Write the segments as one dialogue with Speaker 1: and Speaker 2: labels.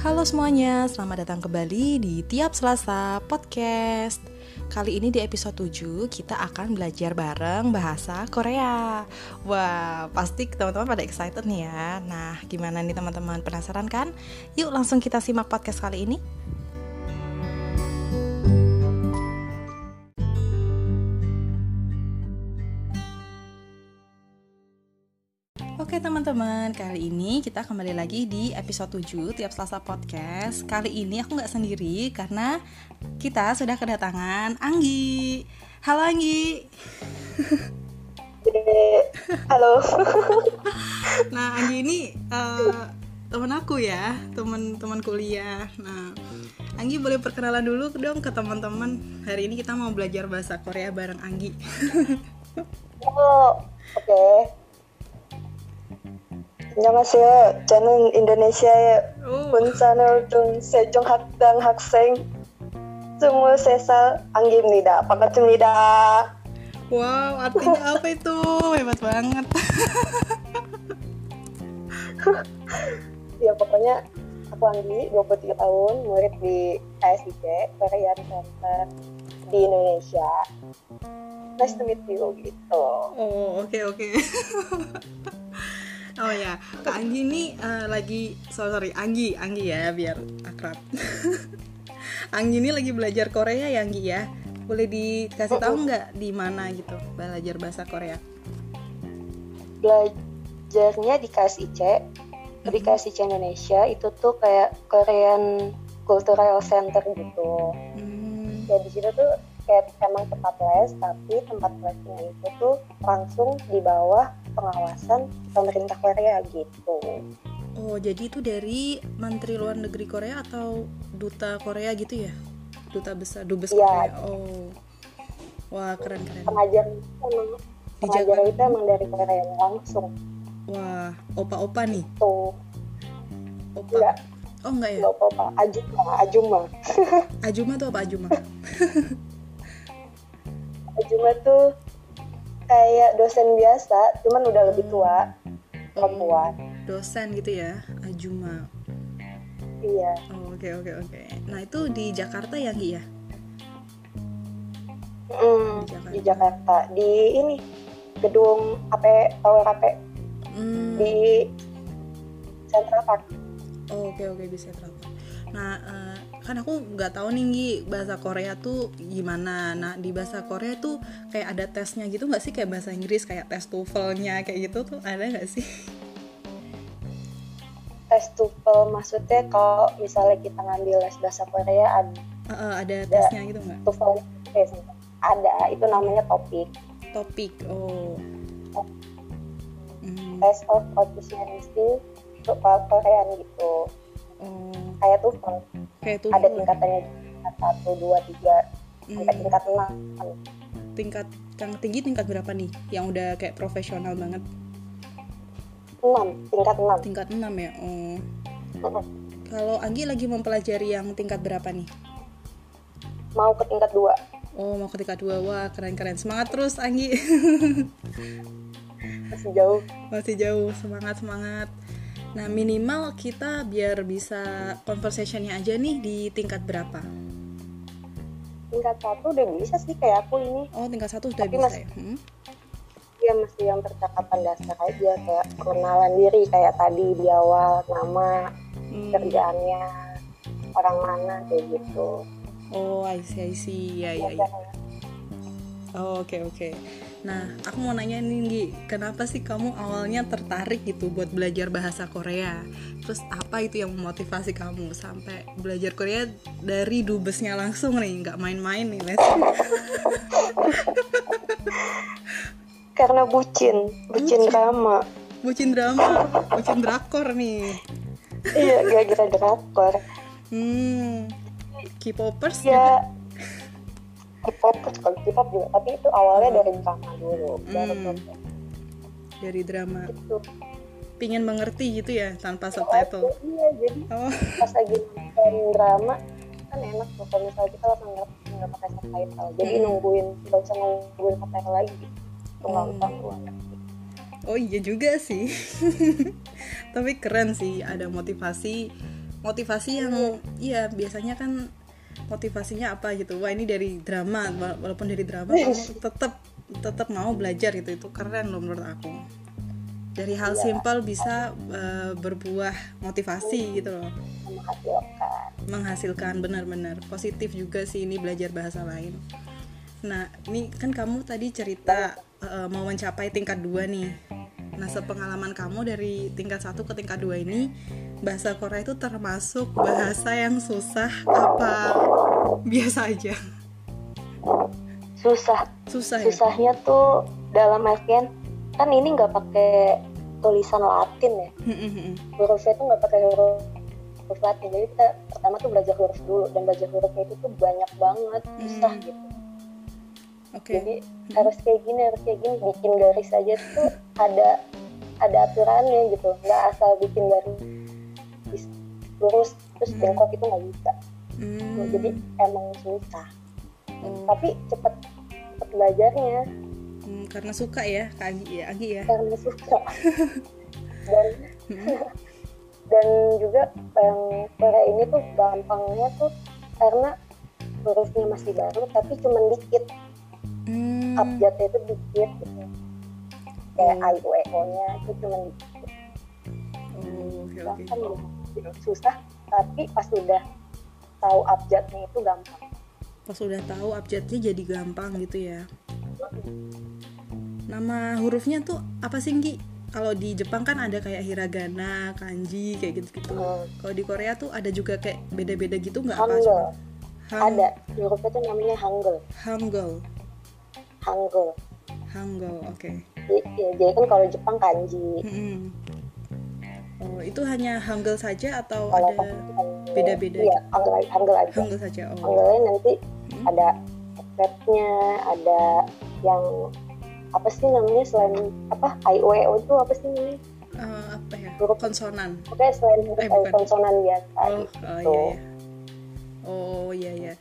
Speaker 1: Halo semuanya, selamat datang kembali di Tiap Selasa Podcast Kali ini di episode 7 kita akan belajar bareng bahasa Korea Wah, pasti teman-teman pada excited nih ya Nah, gimana nih teman-teman, penasaran kan? Yuk langsung kita simak podcast kali ini Oke teman-teman, kali ini kita kembali lagi di episode 7 tiap Selasa Podcast Kali ini aku nggak sendiri karena kita sudah kedatangan Anggi Halo Anggi
Speaker 2: Halo.
Speaker 1: Nah Anggi ini eh, temen aku ya, temen-temen kuliah Nah Anggi boleh perkenalan dulu dong ke teman-teman Hari ini kita mau belajar bahasa Korea bareng Anggi
Speaker 2: Oh, oke. 안녕하세요. 저는 인도네시아의
Speaker 1: Oh,
Speaker 2: 본산울동 세종학당 학생 23살 안기입니다. 반갑습니다.
Speaker 1: Wow, artinya apa itu? Hebat banget
Speaker 2: Ya pokoknya aku Anggi, 23 tahun, murid di ASIC, Korean Center di Indonesia. Nice to meet you gitu.
Speaker 1: Oh oke oke. oh ya, Kak Anggi ini eh, lagi sorry, sorry Anggi Anggi ya biar akrab. Anggi ini lagi belajar Korea ya Anggi ya. Boleh dikasih tahu nggak di mana gitu belajar bahasa Korea?
Speaker 2: belajarnya di KSIC di KSIC Indonesia itu tuh kayak Korean Cultural Center gitu
Speaker 1: Hmm,
Speaker 2: ya di situ tuh kayak emang tempat les tapi tempat lesnya itu tuh langsung di bawah pengawasan pemerintah Korea gitu
Speaker 1: Oh jadi itu dari Menteri Luar Negeri Korea atau duta Korea gitu ya? Duta besar dubes
Speaker 2: Iya.
Speaker 1: Korea. Oh, wah keren keren.
Speaker 2: pengajar emang pengajar
Speaker 1: Dijaga.
Speaker 2: itu emang dari Korea langsung
Speaker 1: Wah opa-opa nih,
Speaker 2: tuh
Speaker 1: opa.
Speaker 2: Enggak.
Speaker 1: Oh enggak ya?
Speaker 2: nggak apa-apa Ajuma Ajuma
Speaker 1: Ajuma tuh apa Ajuma?
Speaker 2: Ajuma tuh kayak dosen biasa cuman udah lebih tua perempuan
Speaker 1: Oh, dosen gitu ya Ajuma
Speaker 2: iya
Speaker 1: Oh, oke oke oke nah itu di Jakarta ya Gi ya
Speaker 2: Mm,
Speaker 1: Di Jakarta.
Speaker 2: di Jakarta di ini gedung AP Tower AP
Speaker 1: Hmm,
Speaker 2: di Central Park
Speaker 1: oh, oke oke bisa terapa nah eh, kan aku nggak tahu nih Gi bahasa Korea tuh gimana nah di bahasa Korea tuh kayak ada tesnya gitu nggak sih kayak bahasa Inggris kayak tes TOEFL-nya kayak gitu tuh ada nggak sih
Speaker 2: tes TOEFL maksudnya kalau misalnya kita ngambil les bahasa Korea ada
Speaker 1: Eh, eh, ada
Speaker 2: Ya.
Speaker 1: tesnya gitu nggak
Speaker 2: TOEFL tes ada itu namanya topik
Speaker 1: topik oh Hmm,
Speaker 2: tes of proficiency untuk bahasa Korean gitu
Speaker 1: oh
Speaker 2: kayak TOEFL
Speaker 1: kayak tuh
Speaker 2: ada tingkatannya tingkat satu dua tiga
Speaker 1: Hmm.
Speaker 2: sampai tingkat enam
Speaker 1: tingkat yang tinggi tingkat berapa nih yang udah kayak profesional banget
Speaker 2: enam tingkat enam
Speaker 1: tingkat 6 ya oh Kalau Anggi lagi mempelajari yang tingkat berapa nih?
Speaker 2: mau ke tingkat dua
Speaker 1: Oh, mau ke tingkat 2. Wah, keren-keren. Semangat terus, Anggi.
Speaker 2: masih jauh
Speaker 1: Masih jauh. Semangat-semangat. Nah, minimal kita biar bisa conversation-nya aja nih di tingkat berapa?
Speaker 2: tingkat satu udah bisa sih kayak aku ini
Speaker 1: Oh, tingkat satu sudah
Speaker 2: Tapi
Speaker 1: bisa
Speaker 2: masih-
Speaker 1: ya? Hmm?
Speaker 2: ya masih yang percakapan dasar aja kayak perkenalan diri kayak tadi di awal nama
Speaker 1: Hmm.
Speaker 2: kerjaannya orang mana kayak gitu
Speaker 1: Oh, I see, I see. Ya, ya, ya. Oh, oke, oke. Nah, aku mau nanya nih, Nggi. Kenapa sih kamu awalnya tertarik gitu buat belajar bahasa Korea? Terus apa itu yang memotivasi kamu sampai belajar Korea dari dubesnya langsung nih, nggak main-main nih, Les?
Speaker 2: karena bucin bucin
Speaker 1: Bucin.
Speaker 2: drama
Speaker 1: Bucin drama, bucin drakor nih.
Speaker 2: iya gara-gara drakor
Speaker 1: Hmm, K-popers juga.
Speaker 2: ya K-pop kalau K-pop juga tapi itu awalnya dari drama dulu baru
Speaker 1: Hmm.
Speaker 2: K-pop
Speaker 1: dari drama.
Speaker 2: gitu
Speaker 1: Pingin mengerti gitu ya, tanpa subtitle.
Speaker 2: iya jadi
Speaker 1: Oh,
Speaker 2: pas lagi nonton drama kan enak tuh kalau misalnya kita langsung nggak nggak pakai subtitle jadi
Speaker 1: Hmm.
Speaker 2: nungguin nggak usah nungguin subtitle lagi tuh
Speaker 1: Hmm.
Speaker 2: nonton doang
Speaker 1: Oh iya juga sih. Tapi keren sih ada motivasi motivasi yang iya biasanya kan motivasinya apa gitu wah ini dari drama wala- walaupun dari drama kamu tetap tetap mau belajar gitu itu keren loh menurut aku dari hal simpel bisa eh, berbuah motivasi gitu loh
Speaker 2: menghasilkan
Speaker 1: menghasilkan benar-benar positif juga sih ini belajar bahasa lain nah ini kan kamu tadi cerita eh, mau mencapai tingkat dua nih nah sepengalaman kamu dari tingkat satu ke tingkat dua ini bahasa Korea itu termasuk bahasa yang susah apa biasa aja
Speaker 2: susah
Speaker 1: susah ya
Speaker 2: susahnya tuh dalam artian kan ini nggak pakai tulisan Latin ya hurufnya tuh nggak pakai huruf huruf Latin jadi kita pertama tuh belajar huruf dulu dan belajar hurufnya itu tuh banyak banget susah
Speaker 1: Hmm.
Speaker 2: gitu
Speaker 1: oke
Speaker 2: jadi harus kayak gini harus kayak gini bikin garis aja tuh ada ada aturannya gitu nggak asal bikin garis lurus terus
Speaker 1: Hmm.
Speaker 2: bengkok itu nggak bisa
Speaker 1: Hmm,
Speaker 2: jadi emang susah
Speaker 1: oh,
Speaker 2: tapi cepet cepet belajarnya
Speaker 1: hmm, karena suka ya Kak Agi ya Agi ya
Speaker 2: karena suka dan
Speaker 1: Mm-mm.
Speaker 2: dan juga yang Korea ini tuh gampangnya tuh karena hurufnya masih baru tapi cuman dikit
Speaker 1: Hmm,
Speaker 2: abjadnya itu dikit gitu kayak
Speaker 1: Hmm.
Speaker 2: I U E O nya itu cuman dikit
Speaker 1: oh, oke oke
Speaker 2: gampang banget. susah tapi pas udah tahu abjadnya itu gampang
Speaker 1: pas udah tahu abjadnya jadi gampang gitu ya nama hurufnya tuh apa sih Nggi? Kalau di Jepang kan ada kayak hiragana, kanji kayak gitu-gitu.
Speaker 2: Hmm.
Speaker 1: Kalau di Korea tuh ada juga kayak beda-beda gitu nggak apa?
Speaker 2: Hangul
Speaker 1: Hang-
Speaker 2: ada hurufnya tuh namanya Hangul
Speaker 1: Hangul,
Speaker 2: Hangul
Speaker 1: Hangul, oke.
Speaker 2: jadi, ya, jadi kan kalau Jepang kanji
Speaker 1: Mm-mm. Oh, itu hanya Hangul saja atau
Speaker 2: kalau
Speaker 1: ada
Speaker 2: Hangul-
Speaker 1: beda-beda
Speaker 2: iya Hangul, Hangul aja
Speaker 1: Hangul saja? Oh,
Speaker 2: Hangulnya nanti
Speaker 1: Hmm.
Speaker 2: ada nya ada yang apa sih namanya selain apa IOEO itu apa sih namanya?
Speaker 1: Eh, apa ya?
Speaker 2: Huruf-
Speaker 1: Konsonan.
Speaker 2: Oke selain huruf
Speaker 1: Eh, bukan.
Speaker 2: konsonan biasa.
Speaker 1: Oh, oh
Speaker 2: gitu.
Speaker 1: iya ya. Oh iya ya.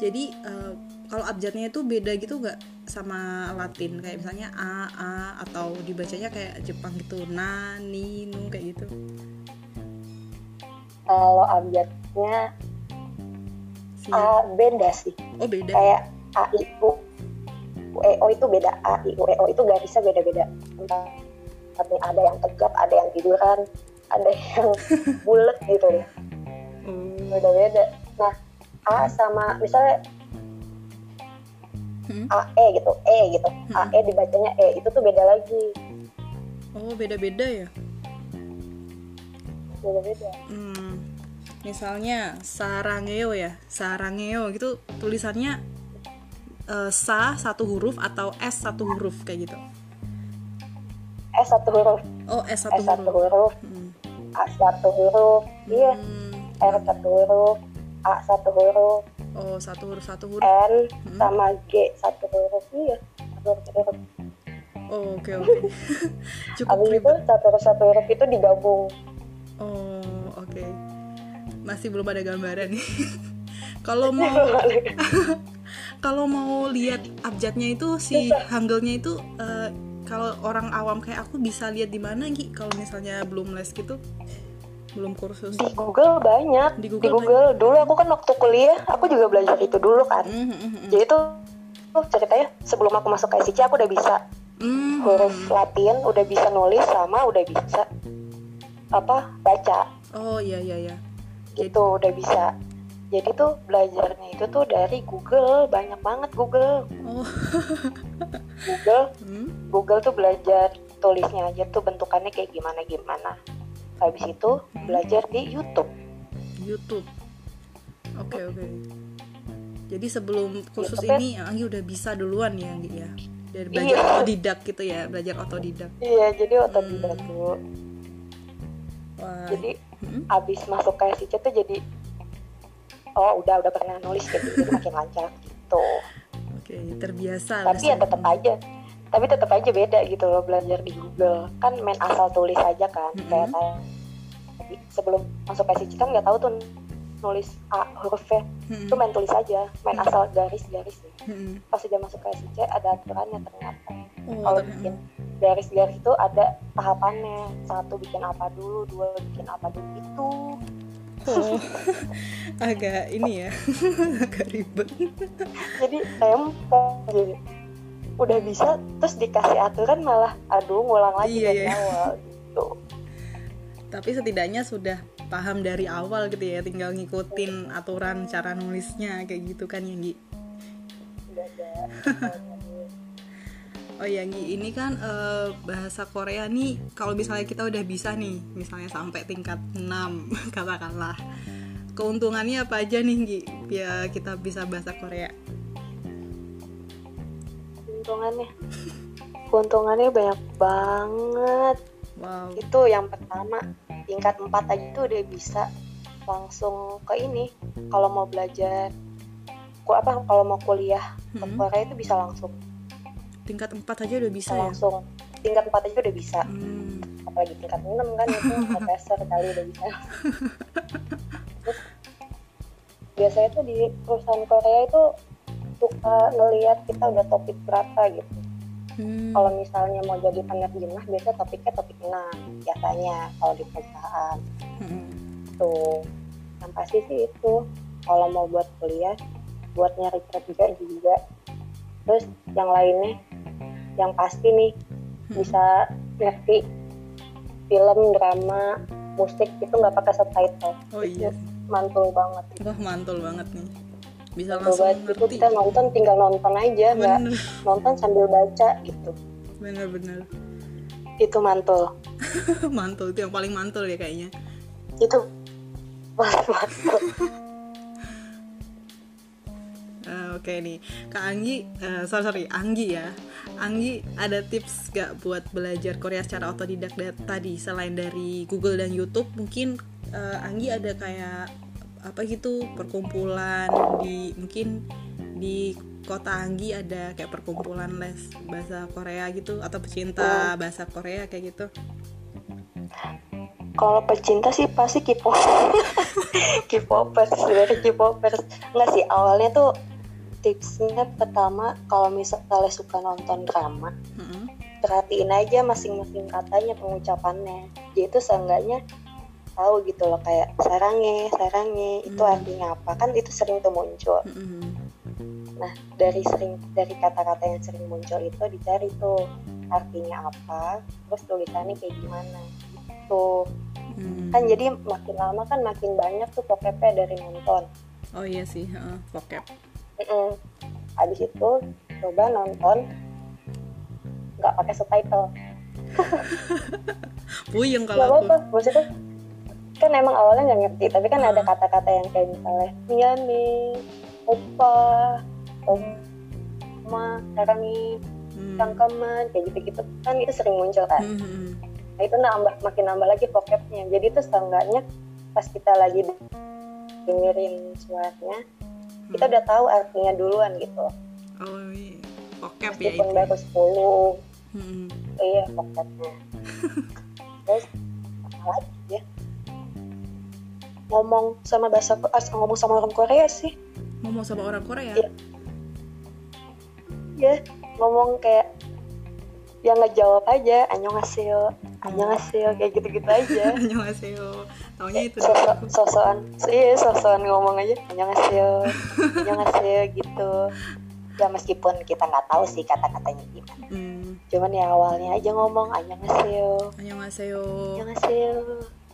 Speaker 1: Jadi eh, kalau abjadnya itu beda gitu nggak sama Latin kayak misalnya a a atau dibacanya kayak Jepang gitu na ni nu kayak gitu.
Speaker 2: Kalau abjadnya
Speaker 1: Si-
Speaker 2: A beda sih.
Speaker 1: Oh beda.
Speaker 2: Kayak A I U EO itu beda A I U EO itu garisnya beda-beda. Entah tapi ada yang tegap, ada yang tiduran, ada yang bulat gitu ya.
Speaker 1: Oh.
Speaker 2: Beda-beda. Nah, A sama misalnya
Speaker 1: Hmm?
Speaker 2: AE gitu, E gitu.
Speaker 1: Hmm.
Speaker 2: AE dibacanya E itu tuh beda lagi.
Speaker 1: Oh beda-beda ya.
Speaker 2: Beda-beda.
Speaker 1: Hmm. Misalnya sarangeo ya, sarangeo gitu tulisannya eh, sa satu huruf atau s satu huruf kayak gitu.
Speaker 2: S E satu huruf,
Speaker 1: Oh s satu
Speaker 2: S satu
Speaker 1: huruf.
Speaker 2: huruf,
Speaker 1: Hmm.
Speaker 2: A satu huruf, iya,
Speaker 1: Hmm.
Speaker 2: R satu huruf, A satu huruf,
Speaker 1: Oh satu huruf satu huruf.
Speaker 2: N
Speaker 1: Hmm.
Speaker 2: sama G satu huruf, iya, satu huruf,
Speaker 1: Oh, oke oke. Cukup
Speaker 2: Abis itu
Speaker 1: ribet.
Speaker 2: satu huruf satu huruf itu digabung.
Speaker 1: Oh, oke. Masih belum ada gambaran nih. kalau mau kalau mau lihat abjadnya itu si hanggelnya itu eh, kalau orang awam kayak aku bisa lihat di mana Gi? Kalau misalnya belum les gitu, belum kursus.
Speaker 2: Di Google banyak,
Speaker 1: Di
Speaker 2: di
Speaker 1: Google
Speaker 2: Google, dulu aku kan waktu kuliah, aku juga belajar itu dulu kan.
Speaker 1: Hmm, hmm, hmm,
Speaker 2: Jadi tuh tuh ceritanya sebelum aku masuk ke SIC aku udah bisa
Speaker 1: hmm.
Speaker 2: huruf Latin, udah bisa nulis sama udah bisa apa baca.
Speaker 1: Oh iya iya iya.
Speaker 2: gitu udah bisa jadi tuh belajarnya itu tuh dari Google banyak banget Google
Speaker 1: Oh.
Speaker 2: Google
Speaker 1: Hmm?
Speaker 2: Google tuh belajar tulisnya aja tuh bentukannya kayak gimana gimana habis itu belajar di YouTube
Speaker 1: YouTube. Oke oke. Jadi sebelum kursus
Speaker 2: Ya, Tapi-
Speaker 1: ini Anggi udah bisa duluan ya Anggi ya. Dari
Speaker 2: Iya.
Speaker 1: belajar otodidak gitu ya, belajar otodidak.
Speaker 2: iya jadi otodidak
Speaker 1: Hmm.
Speaker 2: dulu
Speaker 1: Wah. Hmm?
Speaker 2: jadi
Speaker 1: Mm-mm.
Speaker 2: abis masuk ke SIC tuh jadi oh udah udah pernah nulis jadi jadi makin lancar gitu
Speaker 1: Oke, terbiasa.
Speaker 2: tapi
Speaker 1: langsung.
Speaker 2: ya tetap aja tapi tetap aja beda gitu loh belajar di Google kan main asal tulis aja kan
Speaker 1: Mm-mm.
Speaker 2: kayak tadi sebelum masuk SIC kan nggak tahu tuh nulis A huruf V
Speaker 1: Mm-mm.
Speaker 2: itu main tulis aja main
Speaker 1: Mm.
Speaker 2: asal garis-garis ya.
Speaker 1: Mm-mm.
Speaker 2: pas udah masuk ke SIC ada aturannya ternyata
Speaker 1: Oh,
Speaker 2: kalau
Speaker 1: ternyata.
Speaker 2: bikin garis-garis itu ada tahapannya satu bikin apa dulu dua bikin apa dulu itu
Speaker 1: Oh, agak ini ya, agak ribet.
Speaker 2: jadi lempeng jadi udah bisa terus dikasih aturan malah aduh ngulang lagi
Speaker 1: Iya,
Speaker 2: dari
Speaker 1: iya.
Speaker 2: awal gitu
Speaker 1: Tapi setidaknya sudah paham dari awal gitu ya, tinggal ngikutin aturan cara nulisnya kayak gitu kan yang
Speaker 2: Udah ada.
Speaker 1: Oh ya, Gi, ini kan eh, bahasa Korea nih kalau misalnya kita udah bisa nih, misalnya sampai tingkat 6 katakanlah. Keuntungannya apa aja nih, Gi? Biar kita bisa bahasa Korea.
Speaker 2: keuntungannya keuntungannya banyak banget
Speaker 1: Wow.
Speaker 2: itu yang pertama tingkat 4 aja itu udah bisa langsung ke ini kalau mau belajar ku apa kalau mau kuliah ke
Speaker 1: Mm-mm.
Speaker 2: Korea itu bisa langsung
Speaker 1: Hmm. Tingkat 4 aja udah bisa
Speaker 2: bisa
Speaker 1: ya.
Speaker 2: langsung tingkat 4 aja udah bisa
Speaker 1: Hmm.
Speaker 2: apalagi tingkat 6 kan itu profesor kali udah bisa Terus, biasanya tuh di perusahaan Korea itu suka ngelihat kita udah topik berapa gitu
Speaker 1: Hmm.
Speaker 2: kalau misalnya mau jadi penerjemah biasanya topiknya topik 6 biasanya kalau di perusahaan
Speaker 1: Mm-mm.
Speaker 2: tuh yang pasti sih itu kalau mau buat kuliah buat nyari kerja juga terus yang lainnya yang pasti nih
Speaker 1: Hmm.
Speaker 2: bisa ngerti film drama musik itu nggak pakai subtitle
Speaker 1: Oh iya.
Speaker 2: mantul banget
Speaker 1: Wah, mantul banget nih. Bisa
Speaker 2: Mantul
Speaker 1: langsung
Speaker 2: banget. itu
Speaker 1: ngerti.
Speaker 2: kita nonton tinggal nonton aja nggak
Speaker 1: Bener,
Speaker 2: nonton sambil baca gitu
Speaker 1: bener, bener.
Speaker 2: itu mantul
Speaker 1: mantul itu yang paling mantul ya kayaknya.
Speaker 2: itu mantul
Speaker 1: Eh, Oke nih, Kak Anggi, eh, sorry sorry, Anggi ya. Anggi ada tips gak buat belajar Korea secara otodidak da- tadi selain dari Google dan YouTube? Mungkin eh, Anggi ada kayak apa gitu perkumpulan di mungkin di kota Anggi ada kayak perkumpulan les bahasa Korea gitu atau pecinta
Speaker 2: Oh.
Speaker 1: bahasa Korea kayak gitu.
Speaker 2: kalau pecinta sih pasti K-popers K-popers sebenarnya K-popers nggak sih awalnya tuh tipsnya pertama kalau misalnya suka nonton drama
Speaker 1: Mm-mm.
Speaker 2: perhatiin aja masing-masing katanya pengucapannya dia itu seenggaknya tahu gitu loh kayak sarange sarange itu
Speaker 1: Hmm.
Speaker 2: artinya apa kan itu sering tuh muncul
Speaker 1: Mm-mm.
Speaker 2: dari sering dari kata-kata yang sering muncul itu dicari tuh artinya apa terus tulisannya kayak gimana Gitu. tuh
Speaker 1: Mm.
Speaker 2: kan jadi makin lama kan makin banyak tuh pokepnya dari nonton
Speaker 1: Oh iya sih, heeh, vocab.
Speaker 2: Mm-mm. habis itu coba nonton nggak pakai subtitle
Speaker 1: Puyeng
Speaker 2: nggak
Speaker 1: kalau aku.
Speaker 2: apa-apa maksudnya kan emang awalnya nggak ngerti tapi kan ada
Speaker 1: Hmm.
Speaker 2: kata-kata yang kayak misalnya miyane opa oma karami
Speaker 1: Hmm.
Speaker 2: cangkeman kayak gitu-gitu kan itu sering muncul kan
Speaker 1: Hmm, hmm,
Speaker 2: nah itu nambah makin nambah lagi vocabnya jadi itu seenggaknya pas kita lagi dengerin suaranya
Speaker 1: hmm.
Speaker 2: kita udah tahu artinya duluan gitu
Speaker 1: Oh iya, vocab ya
Speaker 2: meskipun
Speaker 1: itu.
Speaker 2: baru 10
Speaker 1: Mm-mm.
Speaker 2: iya pokoknya terus apa lagi ya ngomong sama bahasa ah, ngomong sama orang Korea sih
Speaker 1: Ngomong sama orang Korea.
Speaker 2: Iya. ya ngomong kayak yang ngejawab aja annyeonghaseyo annyeonghaseyo kayak gitu-gitu aja
Speaker 1: Annyeonghaseyo. Taunya itu
Speaker 2: sosok
Speaker 1: doang.
Speaker 2: sosokan iya sosokan ngomong aja annyeonghaseyo annyeonghaseyo gitu ya meskipun kita nggak tahu sih kata-katanya gimana
Speaker 1: Hmm.
Speaker 2: cuman ya awalnya aja ngomong annyeonghaseyo
Speaker 1: Annyeonghaseyo.
Speaker 2: Annyeonghaseyo.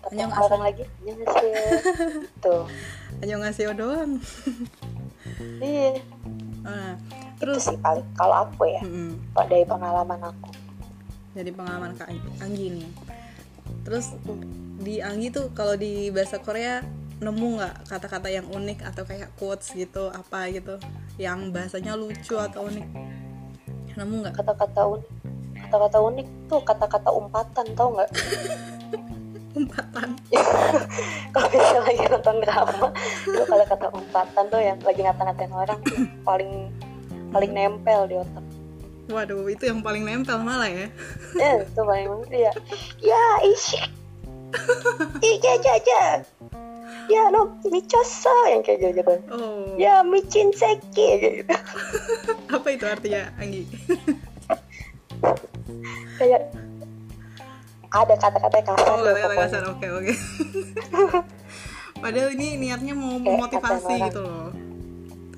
Speaker 2: Ketemu
Speaker 1: Annyeonghaseyo.
Speaker 2: orang lagi. Annyeonghaseyo. Tuh.
Speaker 1: Annyeonghaseyo doang.
Speaker 2: Iya.
Speaker 1: Nah,
Speaker 2: Itu
Speaker 1: terus
Speaker 2: sih paling kalau aku ya.
Speaker 1: Mm-mm.
Speaker 2: Kalau dari pengalaman aku.
Speaker 1: dari pengalaman Kak Anggi nih. Terus di Anggi tuh kalau di bahasa Korea nemu nggak kata-kata yang unik atau kayak quotes gitu apa gitu yang bahasanya lucu atau unik nemu nggak
Speaker 2: Kata-kata unik. Kata-kata unik tuh kata-kata umpatan tau nggak?
Speaker 1: umpatan
Speaker 2: Kalau misalnya lagi nonton drama, itu kalau kata umpatan tuh yang lagi ngata-ngatain orang tuh paling paling nempel di otak.
Speaker 1: waduh itu yang paling nempel malah ya
Speaker 2: Eh, itu paling ya. Ya, ishi. Iya, iya, iya. Ya, no, micosa yang kayak gitu-gitu.
Speaker 1: oh
Speaker 2: Ya, micin seki kayak gitu.
Speaker 1: apa itu artinya Anggi
Speaker 2: kayak ada kata-kata yang kasar
Speaker 1: Oh,
Speaker 2: deh
Speaker 1: kata-kata
Speaker 2: pokoknya
Speaker 1: kasar. Oke, oke. Padahal ini niatnya mau
Speaker 2: Kayak
Speaker 1: memotivasi
Speaker 2: kata orang.
Speaker 1: gitu loh.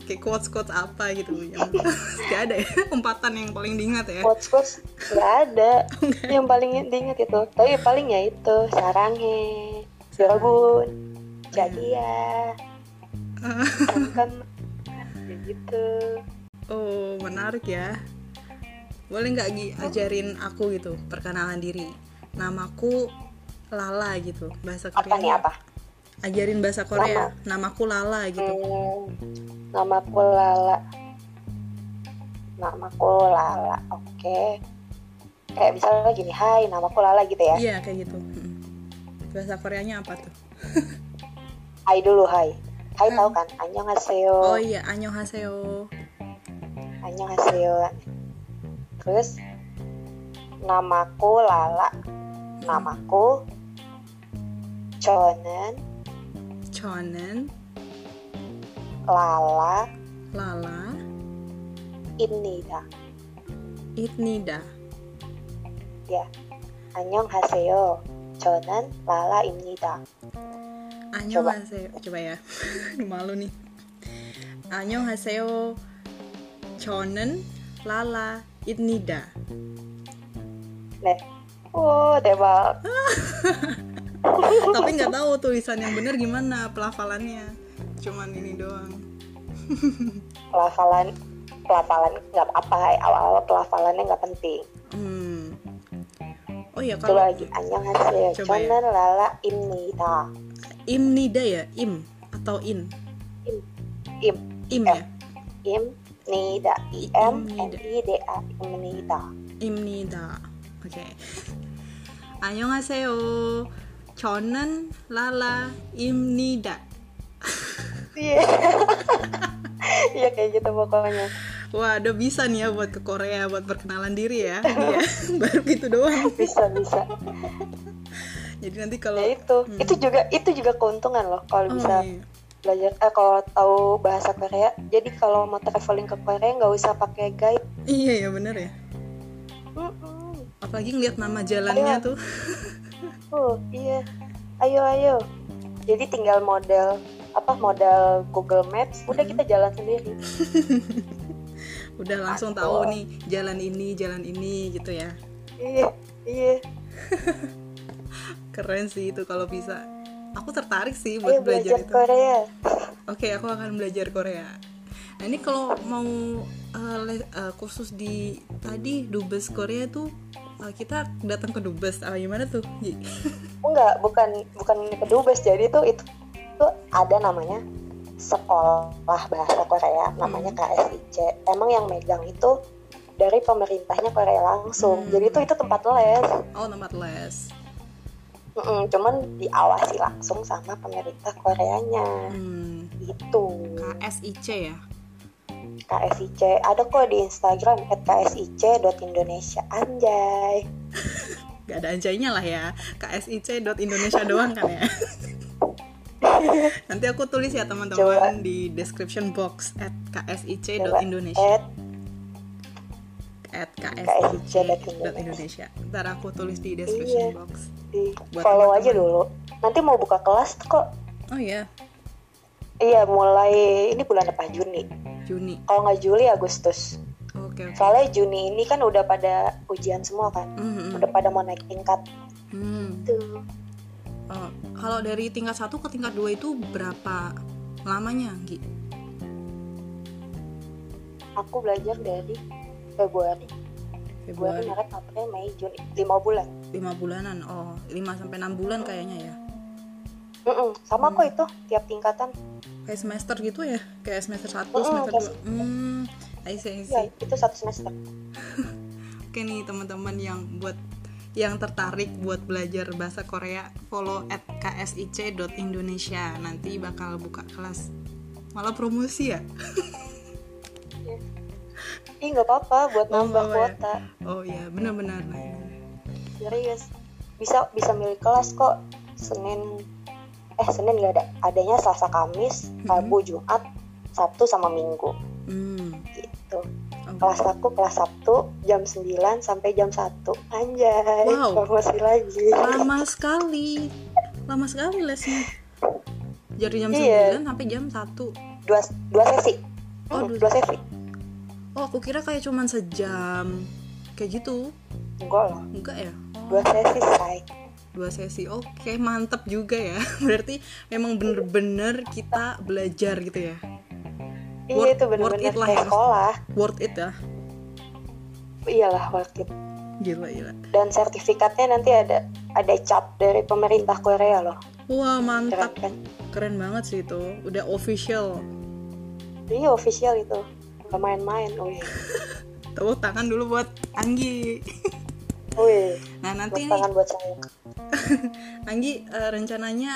Speaker 1: Kayak quotes quotes apa gitu yang gak ada ya umpatan yang paling diingat ya.
Speaker 2: quotes quotes nggak ada yang paling diingat itu tapi paling ya itu sarange Yorobun jadi ya kan ya gitu
Speaker 1: Oh menarik ya. Boleh nggak Gi ajarin aku gitu perkenalan diri. Namaku Lala gitu bahasa Korea.
Speaker 2: apa nih apa
Speaker 1: Ajarin bahasa Korea. Namaku Lala gitu.
Speaker 2: Hmm, namaku Lala. Namaku Lala, oke. Kayak misalnya gini, hai, namaku Lala gitu ya.
Speaker 1: Iya kayak gitu. Mm. Bahasa Koreanya apa tuh?
Speaker 2: Hai dulu, hai. Hai tahu kan? Annyeonghaseyo.
Speaker 1: Hmm. Oh iya Annyeonghaseyo.
Speaker 2: Annyeonghaseyo. Terus namaku Lala.
Speaker 1: Hmm.
Speaker 2: Namaku Jonen
Speaker 1: Chonen
Speaker 2: Lala
Speaker 1: Lala
Speaker 2: Ibnida.
Speaker 1: Itnida.
Speaker 2: Ya. Annyeonghaseyo. Jonen Lala Ibnida.
Speaker 1: Annyeonghaseyo. Coba ya. Malu nih. Annyeonghaseyo. Chonen Lala Itnida.
Speaker 2: Nih. Oh, debal.
Speaker 1: Tapi nggak tahu tulisan yang benar gimana pelafalannya. Cuman ini doang.
Speaker 2: pelafalan pelafalan nggak apa awal-awal pelafalannya nggak penting
Speaker 1: Hmm. Oh iya
Speaker 2: itu
Speaker 1: kalau
Speaker 2: lagi anjang hasil
Speaker 1: Coba ya.
Speaker 2: cuman lala imnida
Speaker 1: Imnida ya, im atau in.
Speaker 2: im
Speaker 1: Im ya.
Speaker 2: im nida i m n
Speaker 1: Imnida.
Speaker 2: i d a imnida
Speaker 1: 입니다. 오케이. 안녕하세요. 저는 라라입니다.
Speaker 2: iya iya kayak gitu pokoknya
Speaker 1: Wah, udah bisa nih ya buat ke Korea buat perkenalan diri ya. Iya, baru gitu doang.
Speaker 2: bisa bisa
Speaker 1: Jadi nanti kalau
Speaker 2: ya itu itu juga itu juga keuntungan loh kalau
Speaker 1: Hmm. Oh,
Speaker 2: bisa
Speaker 1: iya.
Speaker 2: belajar eh kalau tahu bahasa Korea jadi kalau mau traveling ke Korea nggak usah pakai guide
Speaker 1: Iya ya bener ya.
Speaker 2: Mm-mm.
Speaker 1: Apalagi ngeliat nama jalannya
Speaker 2: Ayo.
Speaker 1: tuh.
Speaker 2: Oh iya, ayo ayo. Jadi tinggal model apa model Google Maps,
Speaker 1: Hmm.
Speaker 2: udah kita jalan sendiri.
Speaker 1: Udah langsung tahu nih jalan ini, jalan ini gitu ya.
Speaker 2: Iya iya.
Speaker 1: Keren sih itu kalau bisa. Aku tertarik sih
Speaker 2: Ayo
Speaker 1: buat
Speaker 2: Iya, belajar
Speaker 1: belajar itu.
Speaker 2: Korea.
Speaker 1: Oke, aku akan belajar Korea. Nah, ini kalau mau eh, le- eh, kursus di tadi dubes Korea tuh eh, kita datang ke dubes apa gimana tuh? Gi?
Speaker 2: Enggak, bukan bukan ke Dubes. Jadi itu itu itu ada namanya sekolah bahasa Korea namanya KSIC. Emang yang megang itu dari pemerintahnya Korea langsung. Jadi itu itu tempat les.
Speaker 1: Oh, tempat les.
Speaker 2: Mm-mm, cuman diawasi langsung sama pemerintah Koreanya.
Speaker 1: Hmm,
Speaker 2: Gitu.
Speaker 1: KSIC ya.
Speaker 2: KSIC ada kok di Instagram at ksic.indonesia anjay
Speaker 1: Gak ada anjaynya lah ya. KSIC.indonesia doang kan ya. Nanti aku tulis ya teman-teman di description box at ksic.indonesia. at
Speaker 2: at ksic.indonesia.
Speaker 1: ksic.indonesia. Ntar aku tulis di description
Speaker 2: Iya.
Speaker 1: box.
Speaker 2: di
Speaker 1: Buat
Speaker 2: follow aja
Speaker 1: teman-teman.
Speaker 2: dulu nanti mau buka kelas kok
Speaker 1: Oh iya,
Speaker 2: iya mulai ini bulan depan Juni
Speaker 1: Juni.
Speaker 2: kalau nggak Juli Agustus
Speaker 1: Oke, oke.
Speaker 2: soalnya Juni ini kan udah pada ujian semua kan
Speaker 1: Mhm.
Speaker 2: udah pada mau naik tingkat
Speaker 1: Hmm.
Speaker 2: tuh
Speaker 1: Oh, kalau dari tingkat 1 ke tingkat 2 itu berapa lamanya, Gi?
Speaker 2: aku belajar dari Februari Februari,
Speaker 1: Februari
Speaker 2: Maret, April, Mei, Juni lima bulan
Speaker 1: 5 bulanan. Oh, 5 sampai 6 bulan kayaknya ya.
Speaker 2: Mm-mm, sama kok itu tiap tingkatan
Speaker 1: Kayak semester gitu ya. Kayak semester 1,
Speaker 2: Mm-mm,
Speaker 1: semester
Speaker 2: kayak
Speaker 1: 2. Hmm. I see, I see.
Speaker 2: Oh, ya itu satu semester
Speaker 1: Oke nih teman-teman yang buat yang tertarik buat belajar bahasa Korea, follow at ksic.indonesia. Nanti bakal buka kelas. Malah promosi ya?
Speaker 2: Ih nggak apa-apa buat
Speaker 1: Oh,
Speaker 2: nambah
Speaker 1: nggak apa-apa ya.
Speaker 2: kuota.
Speaker 1: Oh iya, benar-benar.
Speaker 2: Serius. Bisa bisa milih kelas kok. Senin eh Senin nggak ada. Adanya Selasa, Kamis, Rabu, Jumat, Sabtu sama Minggu
Speaker 1: Hmm.
Speaker 2: gitu.
Speaker 1: Oh.
Speaker 2: Kelas aku kelas Sabtu jam 9 sampai jam 1. Anjay,
Speaker 1: Wow.
Speaker 2: promosi lagi.
Speaker 1: lama sekali lama sekali lesnya dari jam
Speaker 2: Iya.
Speaker 1: 9 sampai jam 1
Speaker 2: dua dua sesi
Speaker 1: Oh,
Speaker 2: Hmm,
Speaker 1: dua
Speaker 2: dua sesi
Speaker 1: oh aku kira kayak cuman sejam kayak gitu
Speaker 2: enggak lah
Speaker 1: enggak ya
Speaker 2: dua sesi say
Speaker 1: dua sesi oke mantep juga ya berarti memang bener-bener kita belajar gitu ya
Speaker 2: iya
Speaker 1: Worth-
Speaker 2: itu
Speaker 1: worth
Speaker 2: bener-bener
Speaker 1: it lah
Speaker 2: kayak
Speaker 1: ya.
Speaker 2: sekolah
Speaker 1: worth it ya
Speaker 2: iyalah worth it
Speaker 1: gila gila
Speaker 2: dan sertifikatnya nanti ada ada cap dari pemerintah Korea loh
Speaker 1: wah
Speaker 2: keren
Speaker 1: mantap
Speaker 2: kan
Speaker 1: keren banget sih itu udah official
Speaker 2: iya official itu nggak main-main wih
Speaker 1: tepuk tangan dulu buat Anggi
Speaker 2: wih
Speaker 1: nah
Speaker 2: buat
Speaker 1: nanti nih
Speaker 2: tangan buat saya
Speaker 1: Anggi eh, rencananya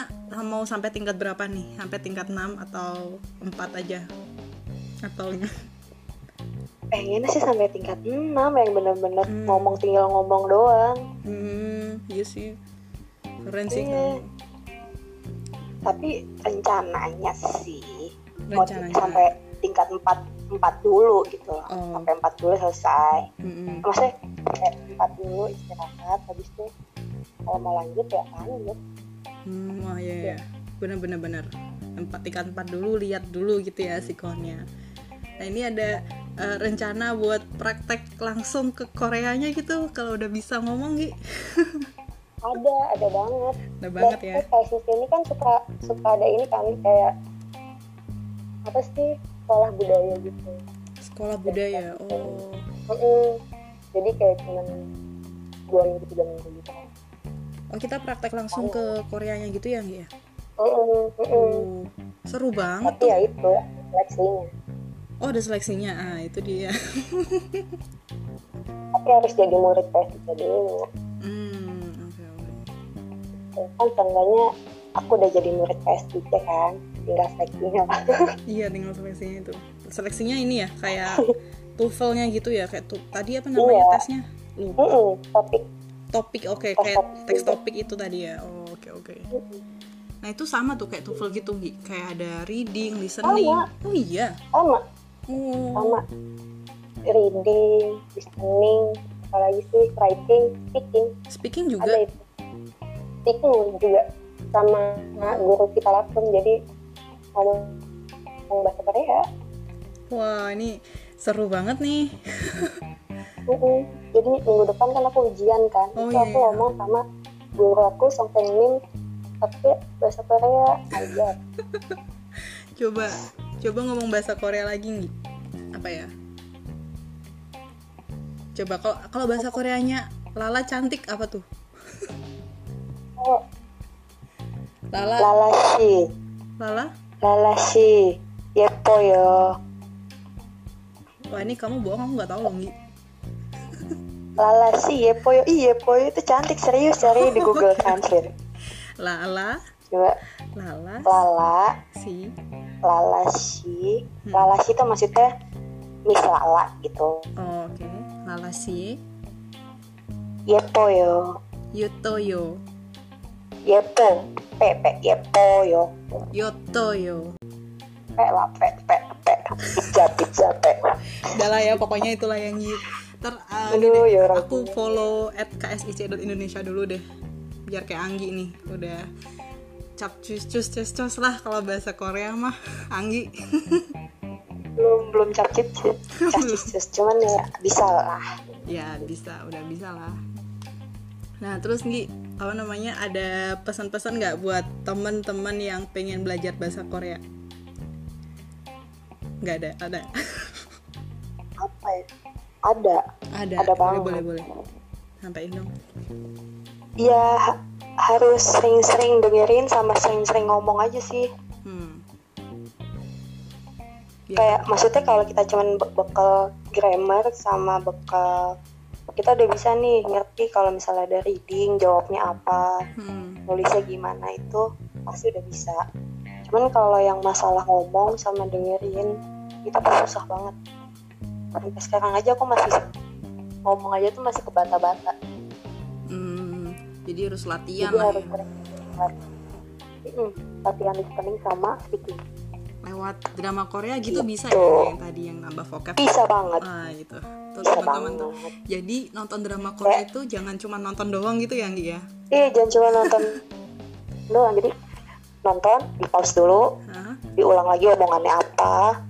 Speaker 1: mau sampai tingkat berapa nih sampai tingkat 6 atau 4 aja atau
Speaker 2: pengennya sih sampai tingkat 6 yang bener-bener
Speaker 1: Hmm.
Speaker 2: ngomong tinggal ngomong doang
Speaker 1: hmm iya sih keren sih kan?
Speaker 2: Iya.
Speaker 1: kamu.
Speaker 2: tapi rencananya sih mau
Speaker 1: Rencananya.
Speaker 2: sampai tingkat 4 4 dulu gitu loh.
Speaker 1: Oh.
Speaker 2: sampai 4 dulu selesai
Speaker 1: Mm-mm.
Speaker 2: maksudnya kayak 4 dulu istirahat habis itu kalau mau lanjut ya lanjut
Speaker 1: Hmm, wah ya, bener bener bener. Empat tingkat empat dulu lihat dulu gitu ya sikonnya. Nah ini ada eh, rencana buat praktek langsung ke Koreanya gitu kalau udah bisa ngomong Gi.
Speaker 2: ada ada banget
Speaker 1: Udah banget ya.
Speaker 2: terus kayak ini kan suka suka ada ini kan kayak apa sih sekolah budaya gitu
Speaker 1: Sekolah budaya. Oh,
Speaker 2: Mm-mm. jadi kayak cuman dua minggu tiga minggu gitu kan
Speaker 1: oh kita praktek langsung ke Koreanya gitu ya Gi ya.
Speaker 2: Mm-mm, mm-mm.
Speaker 1: Oh, seru banget
Speaker 2: tapi
Speaker 1: tuh.
Speaker 2: ya itu seleksinya
Speaker 1: Oh ada seleksinya. Ah itu dia.
Speaker 2: tapi harus jadi murid PSK dulu
Speaker 1: Hmm, oke oke.
Speaker 2: kan seenggaknya aku udah jadi murid PSDC kan tinggal seleksinya lah
Speaker 1: Iya tinggal seleksinya itu. Seleksinya ini ya kayak tuvelnya gitu ya kayak tu- tadi apa namanya
Speaker 2: Iya.
Speaker 1: tesnya? Lupa.
Speaker 2: Mm-mm, topik
Speaker 1: topik oke
Speaker 2: Teks
Speaker 1: kayak
Speaker 2: topik
Speaker 1: teks
Speaker 2: juga.
Speaker 1: topik itu tadi ya Oh, oke oke nah itu sama tuh kayak TOEFL gitu Gi. kayak ada reading listening
Speaker 2: Sama.
Speaker 1: oh iya
Speaker 2: sama
Speaker 1: oh
Speaker 2: sama reading listening apalagi sih writing speaking
Speaker 1: speaking
Speaker 2: ada
Speaker 1: juga
Speaker 2: itu speaking juga sama guru kita langsung jadi ngomong ngomong bahasa Korea
Speaker 1: wah ini seru banget nih
Speaker 2: Mm-mm. jadi minggu depan kan aku ujian kan
Speaker 1: Oh, iya,
Speaker 2: itu aku
Speaker 1: iya.
Speaker 2: ngomong sama guru aku Song Tae Min tapi bahasa Korea aja
Speaker 1: coba coba ngomong bahasa Korea lagi Gi. apa ya coba kalau kalau bahasa Koreanya Lala cantik apa tuh
Speaker 2: oh,
Speaker 1: Lala
Speaker 2: lalashi
Speaker 1: Lala
Speaker 2: lalashi yepo yo
Speaker 1: wah ini kamu bohong aku nggak tahu loh Gi.
Speaker 2: lalashi yepo yo Ih, yepo yo itu cantik serius cari di Google Translate
Speaker 1: Lala
Speaker 2: coba
Speaker 1: Lala
Speaker 2: lala
Speaker 1: si
Speaker 2: lalashi
Speaker 1: Hmm.
Speaker 2: lalashi itu maksudnya Miss Lala gitu
Speaker 1: Oh, oke Lala si
Speaker 2: yepo yo
Speaker 1: Yutoyo
Speaker 2: yepo pepe yepo yo
Speaker 1: Yotoyo
Speaker 2: pe lah pe pe pe pijat pijat pe
Speaker 1: Udah lah ya pokoknya itulah yang gitu Ntar uh, ini
Speaker 2: Aduh,
Speaker 1: deh,
Speaker 2: ya orang
Speaker 1: aku follow at ksic.indonesia dulu deh Biar kayak Anggi nih udah cap cus cus cus cus lah kalau bahasa Korea mah Anggi
Speaker 2: belum belum capcip sih capcip sus cuman ya bisa lah
Speaker 1: ya bisa udah bisa lah nah terus Nggi apa namanya ada pesan-pesan nggak buat teman-teman yang pengen belajar bahasa Korea nggak ada ada
Speaker 2: apa ya ada
Speaker 1: ada Ya,
Speaker 2: Ada
Speaker 1: boleh
Speaker 2: banget.
Speaker 1: boleh boleh sampaiin dong
Speaker 2: ya ha- harus sering-sering dengerin sama sering-sering ngomong aja sih
Speaker 1: Hmm. Iya.
Speaker 2: kayak maksudnya kalau kita cuman be- bekal grammar sama bekal kita udah bisa nih ngerti kalau misalnya ada reading jawabnya apa
Speaker 1: Hmm.
Speaker 2: nulisnya gimana itu pasti udah bisa cuman kalau yang masalah ngomong sama dengerin kita tuh susah banget sampai sekarang aja aku masih ngomong aja tuh masih kebata-bata
Speaker 1: Hmm. Jadi harus latihan
Speaker 2: jadi
Speaker 1: lah
Speaker 2: harus
Speaker 1: ya.
Speaker 2: sering latih. Mm-mm, latihan listening sama speaking
Speaker 1: lewat drama Korea gitu bisa ya
Speaker 2: Gitu.
Speaker 1: kayak yang tadi yang nambah vocab.
Speaker 2: bisa banget
Speaker 1: Ah gitu. Tuh
Speaker 2: bisa
Speaker 1: teman-teman tuh.
Speaker 2: banget
Speaker 1: Jadi nonton drama Korea itu jangan cuma nonton doang gitu ya Anggi ya.
Speaker 2: iya jangan cuma nonton doang jadi nonton di pause dulu
Speaker 1: Hah?
Speaker 2: diulang lagi omongannya apa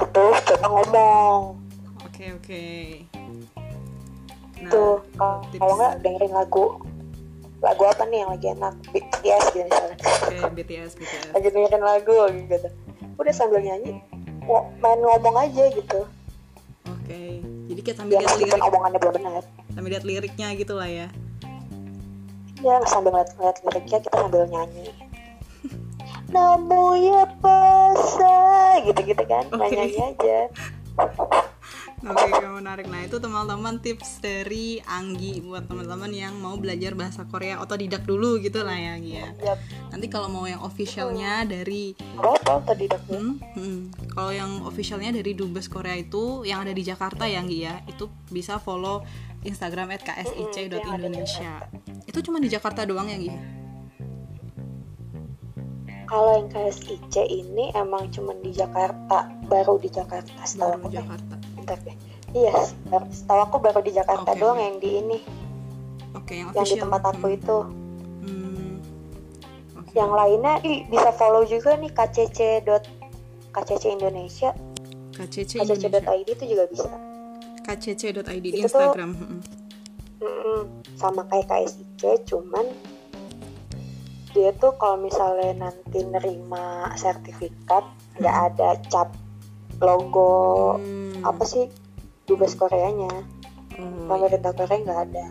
Speaker 2: terus coba ngomong
Speaker 1: Oke oke. Nah,
Speaker 2: tuh Gitu. kalau
Speaker 1: tips.
Speaker 2: kalau nggak dengerin lagu lagu apa nih yang lagi enak BTS gitu misalnya
Speaker 1: oke BTS BTS.
Speaker 2: lagi dengerin lagu gitu udah sambil nyanyi ngo- main ngomong aja gitu
Speaker 1: Oke. Jadi kita sambil
Speaker 2: ya
Speaker 1: lihat
Speaker 2: meskipun
Speaker 1: lirik,
Speaker 2: omongannya belum benar
Speaker 1: sambil lihat liriknya gitu lah ya.
Speaker 2: ya sambil ngeliat-ngeliat liriknya kita sambil nyanyi namu ya pasa gitu-gitu kan
Speaker 1: Oke.
Speaker 2: nah, nyanyi aja
Speaker 1: Oke, oke, menarik. Nah, itu teman-teman tips dari Anggi buat teman-teman yang mau belajar bahasa Korea otodidak dulu gitu lah ya, Anggi ya.
Speaker 2: ya
Speaker 1: Nanti kalau mau yang officialnya dari
Speaker 2: berapa tadi dok
Speaker 1: Hmm, hmm. Kalau yang officialnya dari Dubes Korea itu yang ada di Jakarta ya Nggi ya, itu bisa follow Instagram @ksic.indonesia. Itu cuma di Jakarta doang ya Nggi?
Speaker 2: Iya, kalau yang KSIC ini emang cuman di Jakarta baru di Jakarta
Speaker 1: Baru
Speaker 2: setahu aku deh.
Speaker 1: Jakarta.
Speaker 2: Bentar deh. iya setar- setahu aku baru di Jakarta
Speaker 1: Oke.
Speaker 2: doang yang di ini
Speaker 1: Oke, yang
Speaker 2: yang di
Speaker 1: official.
Speaker 2: tempat aku
Speaker 1: Hmm,
Speaker 2: itu Iya.
Speaker 1: hmm. Oke.
Speaker 2: yang lainnya ih, bisa follow juga nih kcc kcc Indonesia
Speaker 1: KCC Indonesia.
Speaker 2: kcc.id itu juga bisa
Speaker 1: KCC.id di
Speaker 2: Itu tuh-
Speaker 1: Instagram. Hmm.
Speaker 2: Mm-mm. sama kayak KSIC cuman dia tuh kalau misalnya nanti nerima sertifikat nggak ada cap logo
Speaker 1: Hmm.
Speaker 2: apa sih dubes Koreanya
Speaker 1: Oh,
Speaker 2: pemerintah Korea nggak ada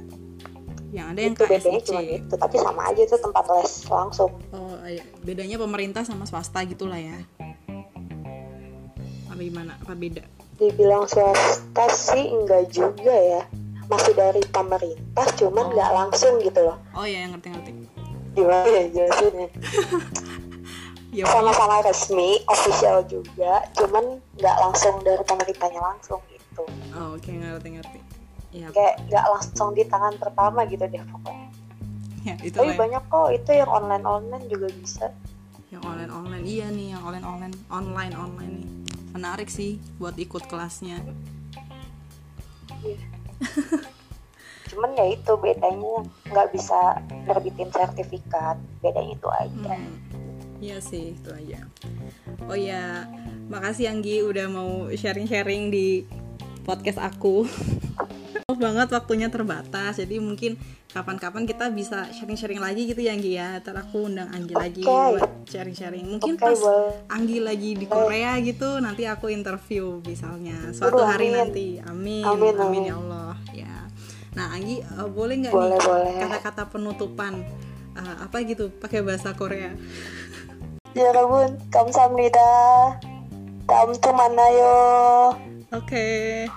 Speaker 1: yang ada yang
Speaker 2: itu bedanya
Speaker 1: KSIC.
Speaker 2: cuma gitu. itu tapi sama aja itu tempat les langsung
Speaker 1: Oh, iya. bedanya pemerintah sama swasta gitulah ya. Apa gimana? Apa beda?
Speaker 2: dibilang swasta sih enggak juga ya masih dari pemerintah cuman nggak langsung gitu loh
Speaker 1: Oh ya, ngerti-ngerti.
Speaker 2: gimana ya jelasinnya
Speaker 1: Ya,
Speaker 2: sama-sama resmi, official juga, cuman nggak langsung dari pemerintahnya langsung gitu.
Speaker 1: Oh, oke ngerti ngerti. Ya,
Speaker 2: Kayak nggak langsung di tangan pertama gitu deh pokoknya.
Speaker 1: ya itu
Speaker 2: Tapi
Speaker 1: lah ya.
Speaker 2: banyak kok itu yang online-online juga bisa.
Speaker 1: yang online online iya nih yang online online online online nih menarik sih buat ikut kelasnya.
Speaker 2: Cuman ya itu bedanya nggak bisa nerbitin sertifikat, bedanya itu aja.
Speaker 1: Hmm, Iya sih itu aja. Oh ya, makasih Anggi udah mau sharing sharing di podcast aku. Maaf banget waktunya terbatas, jadi mungkin kapan-kapan kita bisa sharing-sharing lagi gitu ya Anggi ya. Ntar aku undang Anggi lagi
Speaker 2: Oke.
Speaker 1: buat sharing-sharing. Mungkin
Speaker 2: Oke,
Speaker 1: pas
Speaker 2: boleh.
Speaker 1: Anggi lagi di
Speaker 2: Oh.
Speaker 1: Korea gitu nanti aku interview misalnya suatu
Speaker 2: Aduh,
Speaker 1: hari
Speaker 2: amin.
Speaker 1: nanti amin
Speaker 2: Amin,
Speaker 1: amin,
Speaker 2: amin.
Speaker 1: ya Allah ya nah Anggi eh, boleh nggak
Speaker 2: Boleh,
Speaker 1: nih
Speaker 2: boleh.
Speaker 1: kata-kata penutupan Eh, apa gitu pakai bahasa Korea
Speaker 2: Ya Rabun, kamsahamnida. Tam tu manayo.
Speaker 1: oke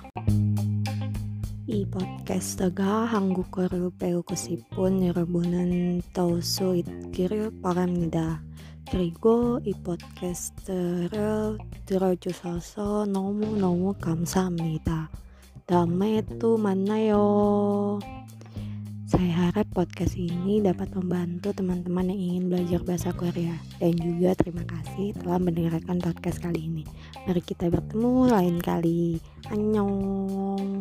Speaker 3: 이 팟캐스트가 한국어를 배우고 싶은 여러분은 더수 있기를 바랍니다. 그리고 이 팟캐스트를 들어주셔서 너무너무 감사합니다. 다음에 또 만나요. Saya harap podcast ini dapat membantu teman-teman yang ingin belajar bahasa Korea dan juga terima kasih telah mendengarkan podcast kali ini. Mari kita bertemu lain kali. Annyeong.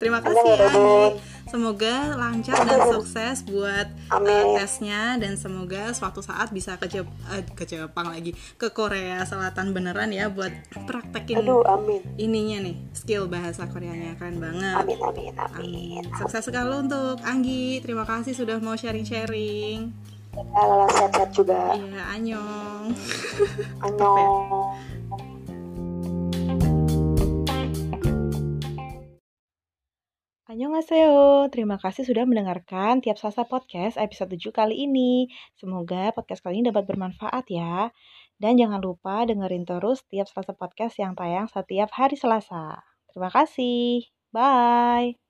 Speaker 1: terima
Speaker 2: Amin
Speaker 1: kasih
Speaker 2: ya
Speaker 1: Anggi
Speaker 2: Rabun.
Speaker 1: semoga lancar dan sukses buat eh,
Speaker 2: Amin.
Speaker 1: tesnya dan semoga suatu saat bisa ke Jep- eh, ke Jepang lagi ke Korea Selatan beneran ya buat praktekin
Speaker 2: Aduh, amin.
Speaker 1: ininya nih skill bahasa Koreanya keren banget
Speaker 2: Amin, amin, amin.
Speaker 1: Amin. Sukses sekali untuk Anggi. Terima kasih sudah mau sharing-sharing.
Speaker 2: Ya, sehat-sehat juga.
Speaker 1: Iya, anyong.
Speaker 2: Annyeong.
Speaker 4: Annyeonghaseyo, terima kasih sudah mendengarkan tiap Selasa Podcast episode 7 kali ini. Semoga podcast kali ini dapat bermanfaat ya. Dan jangan lupa dengerin terus tiap Selasa Podcast yang tayang setiap hari Selasa. Terima kasih. Bye.